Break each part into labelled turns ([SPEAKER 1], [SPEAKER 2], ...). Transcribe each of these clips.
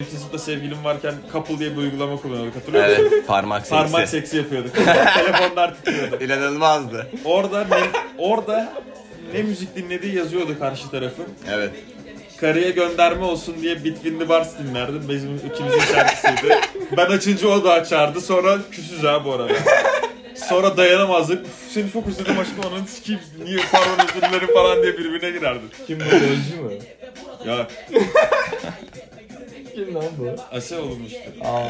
[SPEAKER 1] Whatsapp'ta sevgilim varken Couple diye bir uygulama kullanıyorduk hatırlıyor musun?
[SPEAKER 2] Evet parmak seksi.
[SPEAKER 1] Parmak seksi yapıyorduk. Telefonlar titriyordu.
[SPEAKER 2] İnanılmazdı.
[SPEAKER 1] Orada ne, orada ne müzik dinlediği yazıyordu karşı tarafın.
[SPEAKER 2] Evet.
[SPEAKER 1] Karıya gönderme olsun diye Between the Bars dinlerdim. Bizim ikimizin şarkısıydı. Ben açınca o da açardı. Sonra küsüz ha bu arada. Sonra dayanamazdık. "Üf, Seni çok özledim aşkım ananı sikeyim. Niye pardon özür dilerim falan diye birbirine girerdik.
[SPEAKER 3] Kim bu golcü mü?
[SPEAKER 1] Ya
[SPEAKER 3] Kim lan bu?
[SPEAKER 1] ase olmuştu.
[SPEAKER 3] Aa,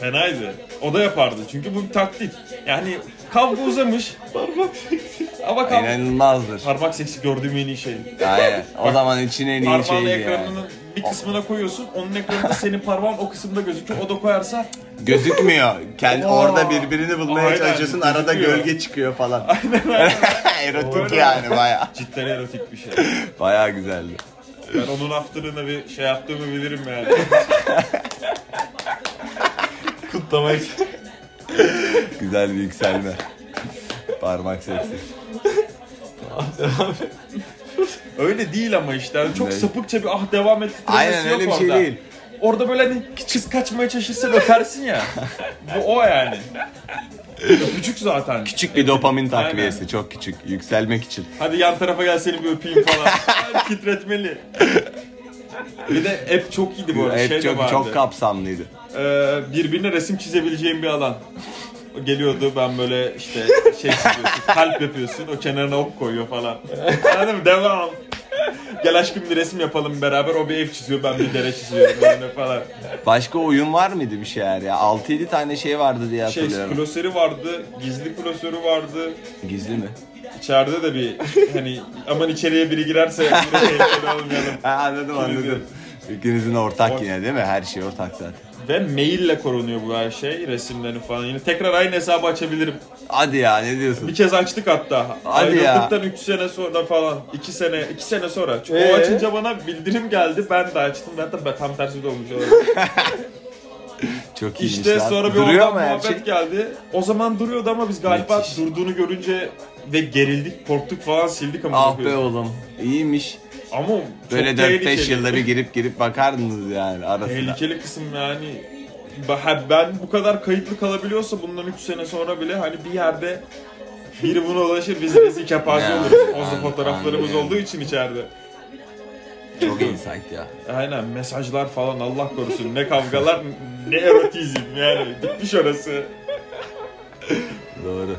[SPEAKER 1] Fenaydı. O da yapardı. Çünkü bu bir taktik. Yani kavga uzamış. Parmak seksi. Ama kavga...
[SPEAKER 2] İnanılmazdır.
[SPEAKER 1] Parmak seksi gördüğüm en iyi şey.
[SPEAKER 2] Aynen. O zaman için en iyi şey
[SPEAKER 1] Parmağını
[SPEAKER 2] şeydi
[SPEAKER 1] ekranının
[SPEAKER 2] yani.
[SPEAKER 1] bir kısmına koyuyorsun. Onun ekranında senin parmağın o kısımda gözüküyor. O da koyarsa
[SPEAKER 2] Gözükmüyor. Kendi orada birbirini bulmaya
[SPEAKER 1] Aynen,
[SPEAKER 2] çalışıyorsun. Arada
[SPEAKER 1] gözükmüyor.
[SPEAKER 2] gölge çıkıyor falan. Erotik yani baya.
[SPEAKER 1] cidden erotik bir şey.
[SPEAKER 2] Baya güzeldi.
[SPEAKER 1] Ben onun after'ını bir şey yaptığımı bilirim yani.
[SPEAKER 3] kutlamak.
[SPEAKER 2] Güzel bir yükselme. Parmak seksi.
[SPEAKER 1] Öyle değil ama işte. Yani çok
[SPEAKER 2] Ne?
[SPEAKER 1] sapıkça bir ah devam et. titremesi
[SPEAKER 2] Aynen
[SPEAKER 1] yok
[SPEAKER 2] öyle bir şey
[SPEAKER 1] orada.
[SPEAKER 2] değil.
[SPEAKER 1] Orada böyle hani kız kaçmaya çalışırsa öpersin ya. Bu o yani. Öpücük zaten.
[SPEAKER 2] Küçük bir dopamin
[SPEAKER 1] Aynen.
[SPEAKER 2] takviyesi. Çok küçük. Yükselmek için.
[SPEAKER 1] Hadi yan tarafa gel seni bir öpeyim falan. Ay, Titretmeli. Bir de app çok iyiydi bu arada.
[SPEAKER 2] Hep
[SPEAKER 1] şey de
[SPEAKER 2] çok,
[SPEAKER 1] vardı.
[SPEAKER 2] çok kapsamlıydı.
[SPEAKER 1] Ee, birbirine resim çizebileceğim bir alan. O Geliyordu ben böyle işte şey çiziyorsun, kalp yapıyorsun, o kenarına ok koyuyor falan. Anladın mı? Devam. Gel aşkım bir resim yapalım beraber, o bir ev çiziyor, ben bir dere çiziyorum önüne falan.
[SPEAKER 2] Başka oyun var mıydı bir şeyler ya? 6-7 tane şey vardı diye
[SPEAKER 1] Şey,
[SPEAKER 2] hatırlıyorum.
[SPEAKER 1] klasörü vardı, gizli klasörü vardı.
[SPEAKER 2] Gizli mi?
[SPEAKER 1] İçeride de bir hani aman içeriye biri girerse biri tehlikeli olmayalım.
[SPEAKER 2] Ha, anladım anladım. İkinizin ortak
[SPEAKER 1] Or-
[SPEAKER 2] yine değil mi? Her şey ortak zaten.
[SPEAKER 1] Ve maille korunuyor bu her şey, resimlerini falan. Yine tekrar aynı hesabı açabilirim.
[SPEAKER 2] Hadi ya ne diyorsun?
[SPEAKER 1] Bir kez açtık hatta.
[SPEAKER 2] Hadi ya.
[SPEAKER 1] Ayrıldıktan 3 sene sonra falan. 2 sene, 2 sene sonra. Çünkü
[SPEAKER 3] Ee?
[SPEAKER 1] o açınca bana bildirim geldi. Ben de açtım. Ben de ben tam tersi de olmuş olabilir.
[SPEAKER 2] Çok iyiymiş
[SPEAKER 1] işte
[SPEAKER 2] lan.
[SPEAKER 1] sonra bir
[SPEAKER 2] Duruyor
[SPEAKER 1] oradan
[SPEAKER 2] mu her
[SPEAKER 1] muhabbet
[SPEAKER 2] şey?
[SPEAKER 1] geldi. O zaman duruyordu ama biz galiba
[SPEAKER 2] Müthiş.
[SPEAKER 1] durduğunu görünce ve gerildik, korktuk falan sildik ama.
[SPEAKER 2] Ah be
[SPEAKER 1] bakıyoruz.
[SPEAKER 2] oğlum. İyiymiş.
[SPEAKER 1] Ama çok
[SPEAKER 2] Böyle 4-5
[SPEAKER 1] tehlikeli.
[SPEAKER 2] yılda bir girip girip bakardınız yani arasına.
[SPEAKER 1] Tehlikeli kısım yani. Ben- Ben bu kadar kayıtlı kalabiliyorsa bundan 3 sene sonra bile hani bir yerde biri buna ulaşır biz rezil kepaze
[SPEAKER 2] Ya,
[SPEAKER 1] oluruz. O
[SPEAKER 2] an-
[SPEAKER 1] fotoğraflarımız
[SPEAKER 2] anlıyorum.
[SPEAKER 1] olduğu için içeride.
[SPEAKER 2] Çok insight ya.
[SPEAKER 1] Aynen mesajlar falan Allah korusun ne kavgalar ne erotizm yani bitmiş orası.
[SPEAKER 2] Doğru.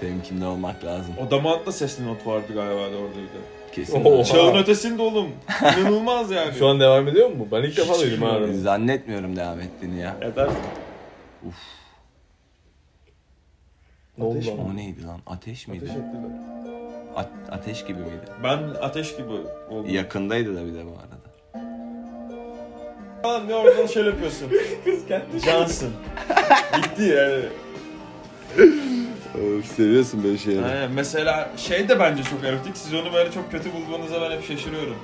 [SPEAKER 2] Temkinli olmak lazım.
[SPEAKER 1] Odamant'ta sesli not vardı galiba da orada bir de.
[SPEAKER 2] Kesin.
[SPEAKER 3] Oha.
[SPEAKER 1] Çağın ötesinde oğlum. İnanılmaz yani.
[SPEAKER 3] Şu an devam ediyor mu? Ben ilk defa
[SPEAKER 1] Hiç
[SPEAKER 3] duydum ha.
[SPEAKER 1] bilmiyorum.
[SPEAKER 2] Zannetmiyorum devam ettiğini ya.
[SPEAKER 1] Eder.
[SPEAKER 3] Ne oldu
[SPEAKER 2] Ateş mi?
[SPEAKER 3] lan?
[SPEAKER 2] O neydi lan? Ateş miydi? A- ateş gibi miydi?
[SPEAKER 1] Ben ateş gibi oldum.
[SPEAKER 2] Yakındaydı da bir de bu arada.
[SPEAKER 1] Falan ne oradan şöyle yapıyorsun.
[SPEAKER 3] Kız kendi. şey
[SPEAKER 1] Cansın. Bitti yani.
[SPEAKER 2] seviyorsun böyle şeyleri.
[SPEAKER 1] Aynen. Mesela şey de bence çok erotik. Siz onu böyle çok kötü bulmanıza ben hep şaşırıyorum.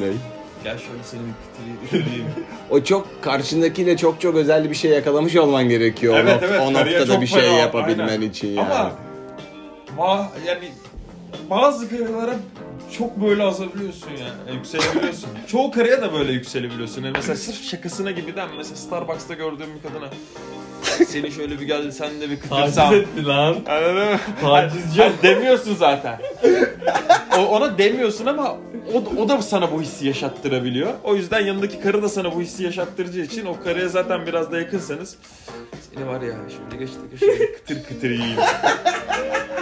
[SPEAKER 2] Ney?
[SPEAKER 1] Gel şöyle seni bir bitireyim- bitireyim.
[SPEAKER 2] O çok karşındakiyle çok çok özel bir şey yakalamış olman gerekiyor.
[SPEAKER 1] Evet,
[SPEAKER 2] o, nok-
[SPEAKER 1] evet,
[SPEAKER 2] o
[SPEAKER 1] kariyer
[SPEAKER 2] noktada
[SPEAKER 1] çok
[SPEAKER 2] bir şey
[SPEAKER 1] fena,
[SPEAKER 2] yapabilmen
[SPEAKER 1] aynen.
[SPEAKER 2] için şey yani.
[SPEAKER 1] Ama ba- yani bazı kariyerlere çok böyle azalıyorsun yani. Yükselebiliyorsun. Çoğu kariyere de böyle yükselebiliyorsun. Yani mesela sırf şakasına gibi den mesela Starbucks'ta gördüğüm bir kadına seni şöyle bir gel sen de bir kıtırsam.
[SPEAKER 3] Taciz etti lan.
[SPEAKER 1] Anladın mı?
[SPEAKER 3] Tacizci.
[SPEAKER 1] Yani demiyorsun zaten. O, ona demiyorsun ama o, da- o da sana bu hissi yaşattırabiliyor. O yüzden yanındaki karı da sana bu hissi yaşattırıcı için o karıya zaten biraz da yakınsanız seni var ya şöyle geç de geç şöyle kıtır kıtır yiyeyim.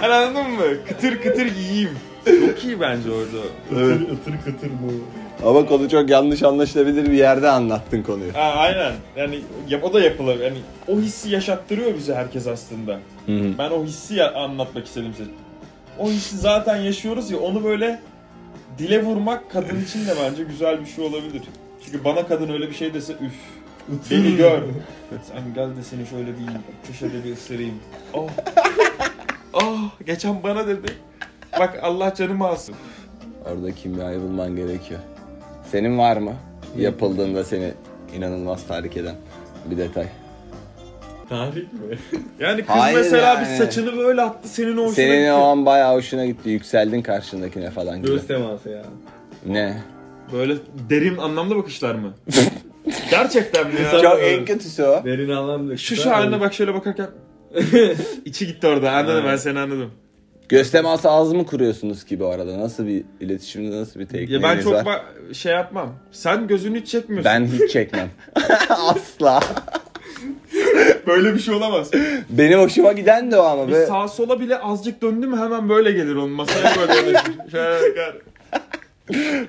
[SPEAKER 1] Hani anladın mı? Kıtır kıtır yiyeyim. Çok iyi bence orada.
[SPEAKER 3] Itır kıtır bu.
[SPEAKER 2] Ama konu çok yanlış anlaşılabilir bir yerde anlattın konuyu.
[SPEAKER 1] Ha, aynen. Yani yap, o da yapılabilir. Yani o hissi yaşattırıyor bize herkes aslında. Ben o hissi ya- anlatmak istedim size. O hissi zaten yaşıyoruz ya onu böyle dile vurmak kadın için de bence güzel bir şey olabilir. Çünkü bana kadın öyle bir şey dese üf beni gör. Sen gel de seni şöyle bir köşede bir ısırayım. Oh. Oh geçen bana dedi. Bak Allah canımı alsın.
[SPEAKER 2] Orada kimyayı bulman gerekiyor. Senin var mı? Yapıldığında seni inanılmaz tahrik eden bir detay.
[SPEAKER 3] Tarih mi?
[SPEAKER 1] Yani kız
[SPEAKER 2] Hayır
[SPEAKER 1] mesela
[SPEAKER 2] yani.
[SPEAKER 1] bir saçını böyle attı senin o hoşuna
[SPEAKER 2] Senin
[SPEAKER 1] gitti.
[SPEAKER 2] o an bayağı hoşuna gitti. Yükseldin karşındakine falan gibi.
[SPEAKER 3] Göz teması ya.
[SPEAKER 2] Ne?
[SPEAKER 1] Böyle derin anlamda bakışlar mı? Gerçekten mi ya? e-
[SPEAKER 2] Çok en kötüsü o.
[SPEAKER 3] Derin anlamda.
[SPEAKER 1] Şu şu haline bak şöyle bakarken. İçi gitti orada anladım ben seni anladım.
[SPEAKER 2] Göz teması az mı kuruyorsunuz ki bu arada? Nasıl bir iletişimde nasıl bir
[SPEAKER 1] Ya
[SPEAKER 2] tekniğiniz
[SPEAKER 1] ben çok
[SPEAKER 2] var?
[SPEAKER 1] ba- şey yapmam. Sen gözünü hiç çekmiyorsun.
[SPEAKER 2] Ben hiç çekmem. Asla.
[SPEAKER 1] Böyle bir şey olamaz.
[SPEAKER 2] Benim hoşuma giden de o ama.
[SPEAKER 1] Bir
[SPEAKER 2] Böyle...
[SPEAKER 1] sağa sola bile azıcık döndü mü hemen böyle gelir onun masaya böyle yanaşır. Şöyle bakar.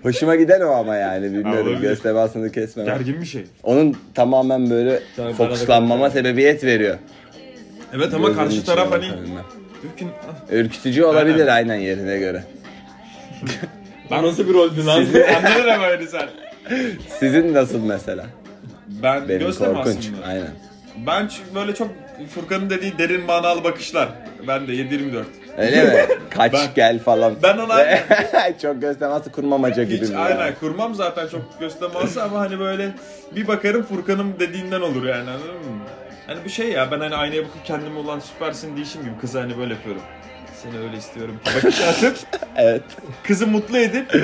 [SPEAKER 2] Hoşuma giden o ama yani. Bilmiyorum
[SPEAKER 1] Olabilir.
[SPEAKER 2] göz temasını kesmem.
[SPEAKER 1] Gergin bir şey.
[SPEAKER 2] Onun tamamen böyle
[SPEAKER 3] Sen bana da
[SPEAKER 2] fokuslanmama
[SPEAKER 3] konuşma.
[SPEAKER 2] sebebiyet veriyor.
[SPEAKER 1] Evet ama
[SPEAKER 2] Gözünün
[SPEAKER 1] karşı
[SPEAKER 2] içine
[SPEAKER 1] taraf hani Ah.
[SPEAKER 2] bakabilme.
[SPEAKER 1] Dökün.
[SPEAKER 2] Ürkütücü olabilir aynen yerine göre.
[SPEAKER 3] Ben nasıl bir roldü lan?
[SPEAKER 1] Anladın ama öyle sen.
[SPEAKER 2] Sizin nasıl mesela?
[SPEAKER 1] Ben
[SPEAKER 2] Benim
[SPEAKER 1] göstermem
[SPEAKER 2] korkunç.
[SPEAKER 1] aslında.
[SPEAKER 2] Aynen.
[SPEAKER 1] Ben çünkü böyle çok Furkan'ın dediği derin manalı bakışlar. Ben de 7-24.
[SPEAKER 2] Öyle mi? Kaç
[SPEAKER 1] Ben-
[SPEAKER 2] gel falan.
[SPEAKER 1] Ben ona
[SPEAKER 2] çok göz teması kurmamaca gibi.
[SPEAKER 1] hiç
[SPEAKER 2] mi
[SPEAKER 1] aynen
[SPEAKER 2] yani?
[SPEAKER 1] kurmam zaten çok göstermezse ama hani böyle bir bakarım Furkan'ım dediğinden olur yani anladın mı? Hani bu şey ya ben hani aynaya bakıp kendime olan süpersin diyişim gibi kıza hani böyle yapıyorum. Seni öyle istiyorum. Bakış atıp
[SPEAKER 2] Evet.
[SPEAKER 1] kızı mutlu edip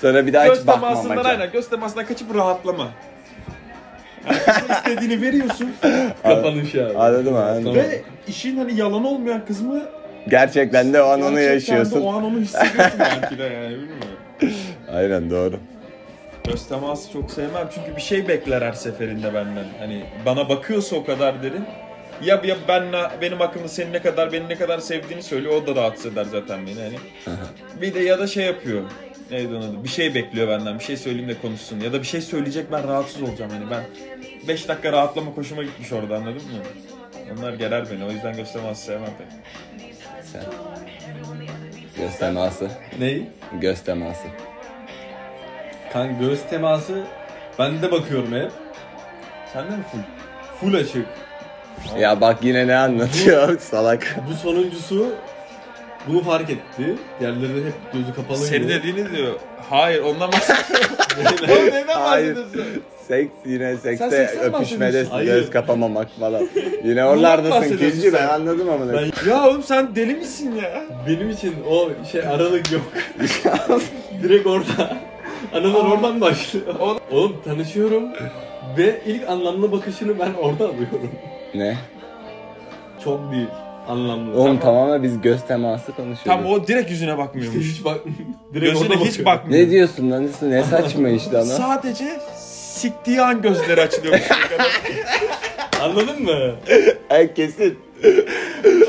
[SPEAKER 2] Sonra bir daha
[SPEAKER 1] göz
[SPEAKER 2] hiç
[SPEAKER 1] temasından
[SPEAKER 2] bakmamaca.
[SPEAKER 1] aynen göz temasından kaçıp rahatlama. Yani kızın istediğini veriyorsun.
[SPEAKER 3] Kapanış abi.
[SPEAKER 2] Anladım anladım.
[SPEAKER 3] Tamam.
[SPEAKER 1] Ve işin hani yalan olmayan kısmı
[SPEAKER 2] Gerçekten de o an onu
[SPEAKER 1] gerçekten de
[SPEAKER 2] yaşıyorsun.
[SPEAKER 1] O an onu hissediyorsun belki de yani bilmiyorum.
[SPEAKER 2] Aynen doğru.
[SPEAKER 1] Göz teması çok sevmem çünkü bir şey bekler her seferinde benden. Hani bana bakıyorsa o kadar derin. Ya, ya ben benim hakkımda seni ne kadar beni ne kadar sevdiğini söylüyor o da rahatsız eder zaten beni hani. bir de ya da şey yapıyor. Neydi onun adı? Bir şey bekliyor benden. Bir şey söyleyeyim de konuşsun. Ya da bir şey söyleyecek ben rahatsız olacağım hani ben. 5 dakika rahatlama koşuma gitmiş orada anladın mı? Onlar gerer beni. O yüzden göz teması sevmem pek.
[SPEAKER 2] Sen. Göz teması.
[SPEAKER 3] Ney?
[SPEAKER 2] Göz teması.
[SPEAKER 3] Kan göz teması. Ben de bakıyorum hep.
[SPEAKER 1] Sen de mi full?
[SPEAKER 3] Full açık.
[SPEAKER 2] Ya bak yine ne anlatıyor salak.
[SPEAKER 3] Bu sonuncusu bunu fark etti. Diğerleri hep gözü kapalıydı.
[SPEAKER 1] Senin dediğini diyor. Hayır ondan bahsediyorum.
[SPEAKER 3] Neyler?
[SPEAKER 1] Neyden
[SPEAKER 2] Hayır.
[SPEAKER 1] bahsediyorsun?
[SPEAKER 2] Seks yine sekste
[SPEAKER 1] seksten
[SPEAKER 2] öpüşmede
[SPEAKER 1] bahsediyorsun.
[SPEAKER 2] göz
[SPEAKER 3] Hayır.
[SPEAKER 2] kapamamak falan. Yine oralardasın
[SPEAKER 1] bahsediyorsun
[SPEAKER 2] ikinci ben
[SPEAKER 1] sen?
[SPEAKER 2] anladım ama. ne-
[SPEAKER 3] Ben-
[SPEAKER 1] Ya oğlum sen deli misin ya?
[SPEAKER 3] Benim için o şey aralık yok. Direkt orada. Analar oradan başlıyor. Oğlum tanışıyorum ve ilk anlamlı bakışını ben orada alıyorum.
[SPEAKER 2] Ne?
[SPEAKER 3] Çok değil. Anlamlı.
[SPEAKER 2] Oğlum tamamen biz göz teması konuşuyoruz.
[SPEAKER 1] Tam o direkt yüzüne
[SPEAKER 3] İşte
[SPEAKER 1] bakmıyormuş.
[SPEAKER 3] hiç bak. Direkt
[SPEAKER 1] Gözüne
[SPEAKER 3] orada
[SPEAKER 1] hiç
[SPEAKER 3] bakıyorum.
[SPEAKER 1] bakmıyor.
[SPEAKER 2] Ne diyorsun lan? Ne saçma işte ana.
[SPEAKER 1] Sadece siktiği an gözleri açılıyormuş.
[SPEAKER 3] Anladın mı?
[SPEAKER 2] Ay E, kesin.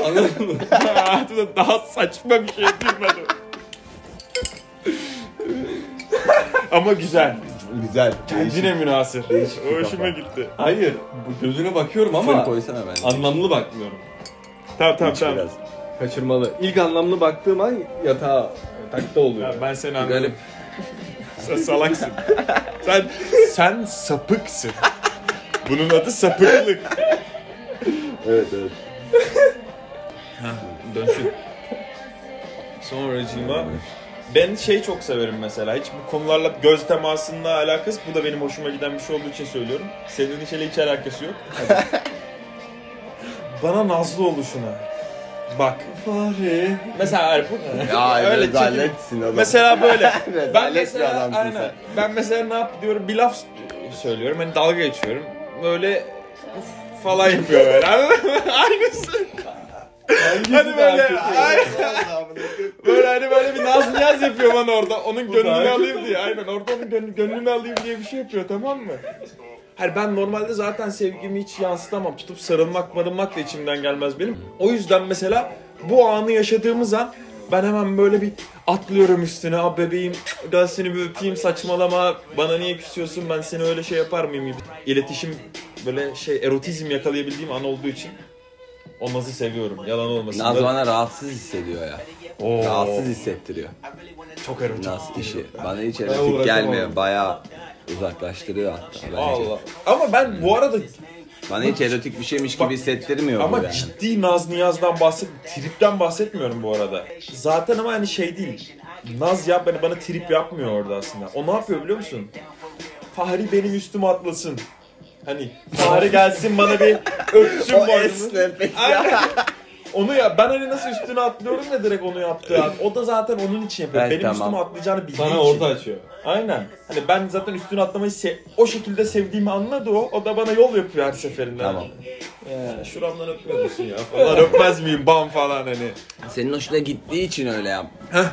[SPEAKER 3] Anladın mı?
[SPEAKER 1] Hayatımda daha saçma bir şey duymadım. Ama güzel.
[SPEAKER 2] Güzel.
[SPEAKER 1] Yine münasır.
[SPEAKER 2] bir
[SPEAKER 1] Hoşuma
[SPEAKER 2] kafa.
[SPEAKER 1] gitti.
[SPEAKER 3] Hayır. bu Gözüne bakıyorum
[SPEAKER 2] Ama
[SPEAKER 3] ama
[SPEAKER 2] koysana ben.
[SPEAKER 3] anlamlı bakmıyorum.
[SPEAKER 1] Tamam tamam
[SPEAKER 2] İç
[SPEAKER 1] tamam.
[SPEAKER 2] biraz.
[SPEAKER 3] Kaçırmalı. İlk anlamlı baktığım an yatağa yatakta oluyor.
[SPEAKER 1] Ya ben seni
[SPEAKER 2] Garip.
[SPEAKER 1] anladım. Sen salaksın. Sen sen sapıksın. Bunun adı sapıklık.
[SPEAKER 2] Evet evet.
[SPEAKER 1] Dönsün. Sonracığıma ben şey çok severim mesela. Hiç bu konularla göz temasında alakası. Bu da benim hoşuma giden bir şey olduğu için söylüyorum. Senin işle hiç alakası yok. Hadi. Bana nazlı oluşuna. Bak.
[SPEAKER 3] Fare.
[SPEAKER 1] Mesela hani bu
[SPEAKER 2] Ya
[SPEAKER 1] öyle
[SPEAKER 2] öyle
[SPEAKER 1] çekim.
[SPEAKER 2] rezaletsin adam.
[SPEAKER 1] Mesela böyle. ben
[SPEAKER 2] Rezalet bir
[SPEAKER 1] mesela
[SPEAKER 2] adamsın
[SPEAKER 1] aynen.
[SPEAKER 2] sen.
[SPEAKER 1] Ben mesela ne yap diyorum bir laf söylüyorum. Hani dalga geçiyorum. Böyle uf falan yapıyor böyle. Anladın mı? Aynısı.
[SPEAKER 3] Hangisi
[SPEAKER 1] Hadi
[SPEAKER 3] daha
[SPEAKER 1] böyle.
[SPEAKER 3] kötü?
[SPEAKER 1] Aynen. Böyle hani böyle bir naz niyaz yapıyor bana orada. Onun
[SPEAKER 3] Bu
[SPEAKER 1] gönlünü
[SPEAKER 3] daha
[SPEAKER 1] alayım diye. Aynen orada onun gönlü- gönlünü alayım diye bir şey yapıyor tamam mı? Hayır ben normalde zaten sevgimi hiç yansıtamam. Tutup sarılmak marılmak da içimden gelmez benim. O yüzden mesela bu anı yaşadığımız an ben hemen böyle bir atlıyorum üstüne. Aa bebeğim gel seni bir öpeyim saçmalama. Bana niye küsüyorsun ben seni öyle şey yapar mıyım? gibi. İletişim böyle şey erotizm yakalayabildiğim an olduğu için o nazı seviyorum. Yalan olmasın.
[SPEAKER 2] Naz bana rahatsız hissediyor ya. Rahatsız hissettiriyor.
[SPEAKER 1] Çok erotik.
[SPEAKER 2] Naz işi. Bana hiç
[SPEAKER 3] Ben
[SPEAKER 2] erotik
[SPEAKER 3] uğraşamam.
[SPEAKER 2] gelmiyor. Bayağı uzaklaştırıyor hatta. Ben hiç-
[SPEAKER 1] Allah. Ama ben bu arada
[SPEAKER 2] Bana hiç erotik bir şeymiş gibi
[SPEAKER 1] Bak-
[SPEAKER 2] hissettirmiyor bu
[SPEAKER 1] ama
[SPEAKER 2] yani.
[SPEAKER 1] ciddi Naz Niyaz'dan bahset, tripten bahsetmiyorum bu arada. Zaten ama hani şey değil. Naz yap bana, bana trip yapmıyor orada aslında. O ne yapıyor biliyor musun? Fahri benim üstüme atlasın. Hani Fahri gelsin bana bir öpsün
[SPEAKER 2] O
[SPEAKER 1] boynunu.
[SPEAKER 2] esnefek ya.
[SPEAKER 1] Aynen. Onu ya ben hani nasıl üstüne atlıyorum ya direkt onu yaptı abi. O da zaten onun için yapıyor.
[SPEAKER 2] Evet,
[SPEAKER 1] Benim
[SPEAKER 2] tamam.
[SPEAKER 1] üstüme atlayacağını bildiği
[SPEAKER 3] Sana
[SPEAKER 1] için.
[SPEAKER 3] orta açıyor.
[SPEAKER 1] Aynen. Hani ben zaten üstüne atlamayı se- o şekilde sevdiğimi anladı o. O da bana yol yapıyor her seferinde.
[SPEAKER 2] Tamam.
[SPEAKER 1] Yani şuramdan öpmez misin ya falan öpmez miyim bam falan hani.
[SPEAKER 2] Senin hoşuna gittiği için öyle yap.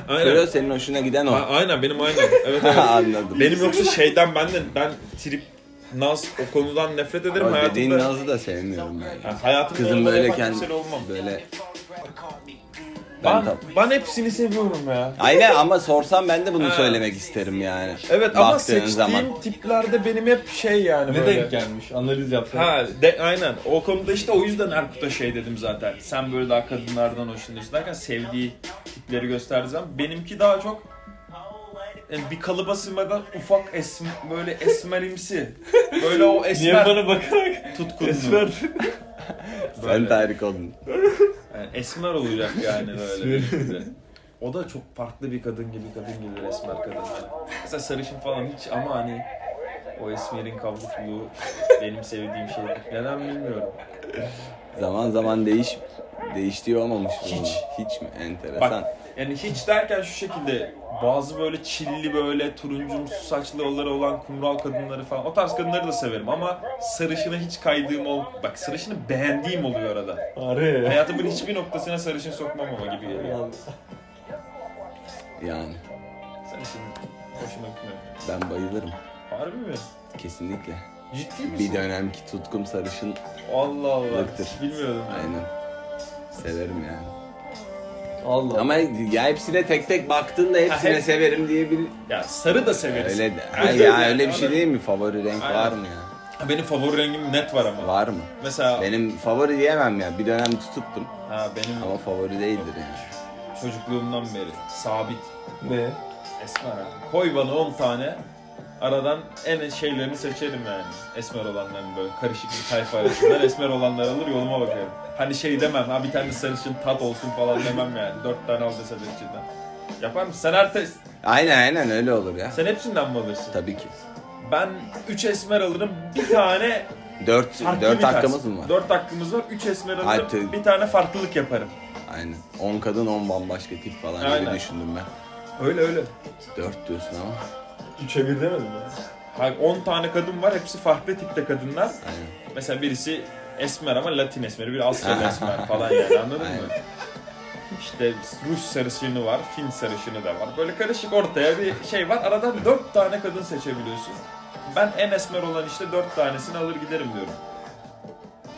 [SPEAKER 1] Aynen.
[SPEAKER 2] Görüyor senin hoşuna giden
[SPEAKER 1] A-
[SPEAKER 2] o.
[SPEAKER 1] aynen benim aynen. Evet evet.
[SPEAKER 2] Anladım.
[SPEAKER 1] benim yoksa şeyden ben de ben trip naz o konudan nefret ederim
[SPEAKER 2] Ama
[SPEAKER 1] hayatımda.
[SPEAKER 2] dediğin Naz'ı da sevmiyorum ben.
[SPEAKER 1] Ha, hayatımda
[SPEAKER 2] Kızım
[SPEAKER 1] öyle
[SPEAKER 2] böyle
[SPEAKER 1] yapan
[SPEAKER 2] kendi
[SPEAKER 1] kimseyle olmam.
[SPEAKER 2] böyle ben,
[SPEAKER 1] Ben,
[SPEAKER 2] tam.
[SPEAKER 1] ben hepsini seviyorum ya.
[SPEAKER 2] Aynen ama sorsam ben de bunu
[SPEAKER 1] Ha.
[SPEAKER 2] söylemek isterim yani.
[SPEAKER 1] Evet ama
[SPEAKER 2] Baktığın
[SPEAKER 1] seçtiğim
[SPEAKER 2] zaman.
[SPEAKER 1] tiplerde benim hep şey yani
[SPEAKER 3] Ne
[SPEAKER 1] böyle.
[SPEAKER 3] denk gelmiş? Analiz yapsana.
[SPEAKER 1] Ha de, aynen. O konuda işte o yüzden Erkut'a şey dedim zaten. Sen böyle daha kadınlardan hoşlanıyorsun derken sevdiği tipleri gösterdiği zaman benimki daha çok yani bir kalıba sığmadan ufak esm, böyle esmerimsi. Böyle o
[SPEAKER 3] Niye
[SPEAKER 1] esmer
[SPEAKER 3] bana bakarak?
[SPEAKER 1] tutkunlu.
[SPEAKER 3] Esmer.
[SPEAKER 2] Sen
[SPEAKER 1] Böyle.
[SPEAKER 2] Tarık oldun.
[SPEAKER 1] Yani esmer olacak yani böyle. benimki de. o da çok farklı bir kadın gibi kadın gelir esmer kadın. Yani. Mesela sarışın falan hiç ama hani o esmerin kavrukluğu benim sevdiğim şey. Neden bilmiyorum.
[SPEAKER 2] Zaman zaman değiş değiştiği olmamış mı?
[SPEAKER 1] Hiç.
[SPEAKER 2] Hiç mi? Enteresan.
[SPEAKER 1] Bak yani hiç derken şu şekilde bazı böyle çilli böyle turuncumsu saçlı oları olan kumral kadınları falan o tarz kadınları da severim ama sarışına hiç kaydığım ol bak sarışını beğendiğim oluyor arada.
[SPEAKER 3] Arı.
[SPEAKER 1] Hayatımın hiçbir noktasına sarışın sokmam ama gibi geliyor.
[SPEAKER 2] Yani
[SPEAKER 1] Sarışın hoşuma gitmiyor.
[SPEAKER 2] ben bayılırım.
[SPEAKER 1] Harbi mi?
[SPEAKER 2] Kesinlikle.
[SPEAKER 1] Ciddi
[SPEAKER 2] Bir
[SPEAKER 1] misin?
[SPEAKER 2] dönemki tutkum sarışın.
[SPEAKER 1] Allah Allah.
[SPEAKER 2] Baktır.
[SPEAKER 1] Hiç bilmiyordum.
[SPEAKER 2] Aynen. Severim yani.
[SPEAKER 3] Allah.
[SPEAKER 2] Ama ya hepsine tek tek baktığında hepsine
[SPEAKER 1] Ha, hep-
[SPEAKER 2] severim diye bir...
[SPEAKER 1] Ya sarı da severiz.
[SPEAKER 2] Öyle de.
[SPEAKER 1] Aynen.
[SPEAKER 2] Ay ya öyle bir şey
[SPEAKER 1] Aynen.
[SPEAKER 2] değil mi? Favori renk
[SPEAKER 1] Aynen.
[SPEAKER 2] var mı ya?
[SPEAKER 1] Benim favori rengim net var ama.
[SPEAKER 2] Var mı?
[SPEAKER 1] Mesela
[SPEAKER 2] Benim favori diyemem ya. Bir dönem tututtum
[SPEAKER 1] ha, benim
[SPEAKER 2] ama favori değildir yani.
[SPEAKER 1] çocukluğumdan beri sabit
[SPEAKER 3] Ne?
[SPEAKER 1] Esmer abi. Koy bana 10 tane. Aradan en şeylerini seçerim yani. Esmer olanların böyle karışık bir tayfa arasından esmer olanlar alır yoluma bakarım. Hani şey demem ha bir tane sarışın tat olsun falan demem yani. 4 tane al dese de içinden. Yapar mısın? Sen, her te-
[SPEAKER 2] Aynen aynen öyle olur ya.
[SPEAKER 1] sen hepsinden mi alırsın?
[SPEAKER 2] Tabii ki.
[SPEAKER 1] Ben 3 esmer alırım bir tane
[SPEAKER 2] Dört,
[SPEAKER 1] farklı
[SPEAKER 2] dört hakkımız mı var?
[SPEAKER 1] 4 hakkımız var. 3 esmer alırım
[SPEAKER 2] Hayır, tabii.
[SPEAKER 1] bir tane farklılık yaparım.
[SPEAKER 2] Aynen. On kadın on bambaşka tip falan
[SPEAKER 1] Aynen.
[SPEAKER 2] gibi düşündüm ben.
[SPEAKER 1] Öyle öyle.
[SPEAKER 2] Dört diyorsun ama.
[SPEAKER 3] Üçe bir demedin mi?
[SPEAKER 1] Hayır 10 tane kadın var hepsi farklı tipte kadınlar.
[SPEAKER 2] Aynen.
[SPEAKER 1] Mesela birisi esmer ama Latin esmeri, bir Asyalı esmer falan yani anladın mı?
[SPEAKER 2] Aynen.
[SPEAKER 1] İşte Rus sarışını var, Fin sarışını da var. Böyle karışık ortaya bir şey var. Aradan dört tane kadın seçebiliyorsun. Ben en esmer olan işte dört tanesini alır giderim diyorum.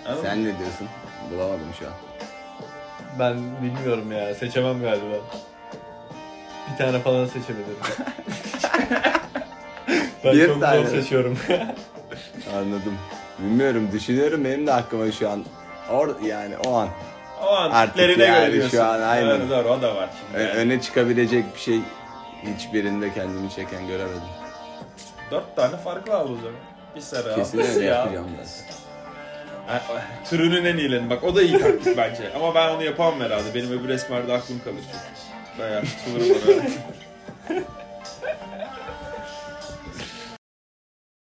[SPEAKER 1] Anladın mı?
[SPEAKER 2] Sen ne diyorsun? Bulamadım şu an.
[SPEAKER 3] Ben bilmiyorum ya. Seçemem galiba. Bir tane falan seçebilirim. ben
[SPEAKER 2] Bir
[SPEAKER 3] çok
[SPEAKER 2] tane.
[SPEAKER 3] zor seçiyorum.
[SPEAKER 2] Anladım. Bilmiyorum düşünüyorum benim de aklıma şu an. Or yani o an. e,
[SPEAKER 1] O an
[SPEAKER 2] Artık
[SPEAKER 1] tiplerine
[SPEAKER 2] yani
[SPEAKER 1] göre
[SPEAKER 2] şu
[SPEAKER 1] diyorsun.
[SPEAKER 2] an aynen.
[SPEAKER 1] Doğru, doğru, o da var
[SPEAKER 2] Ö-
[SPEAKER 1] şimdi. yani.
[SPEAKER 2] öne çıkabilecek bir şey hiçbirinde kendimi çeken göremedim.
[SPEAKER 1] Dört tane farklı al o zaman. Bir sarı al,
[SPEAKER 2] Kesin
[SPEAKER 1] bir
[SPEAKER 2] öyle
[SPEAKER 1] siyah al.
[SPEAKER 2] yapacağım ben.
[SPEAKER 1] Ha, Türünün en iyilerini bak o da iyi taktik bence. Ama ben onu yapamam herhalde. Benim öbür esmerde aklım kalır çünkü. Bayağı tutulurum ona.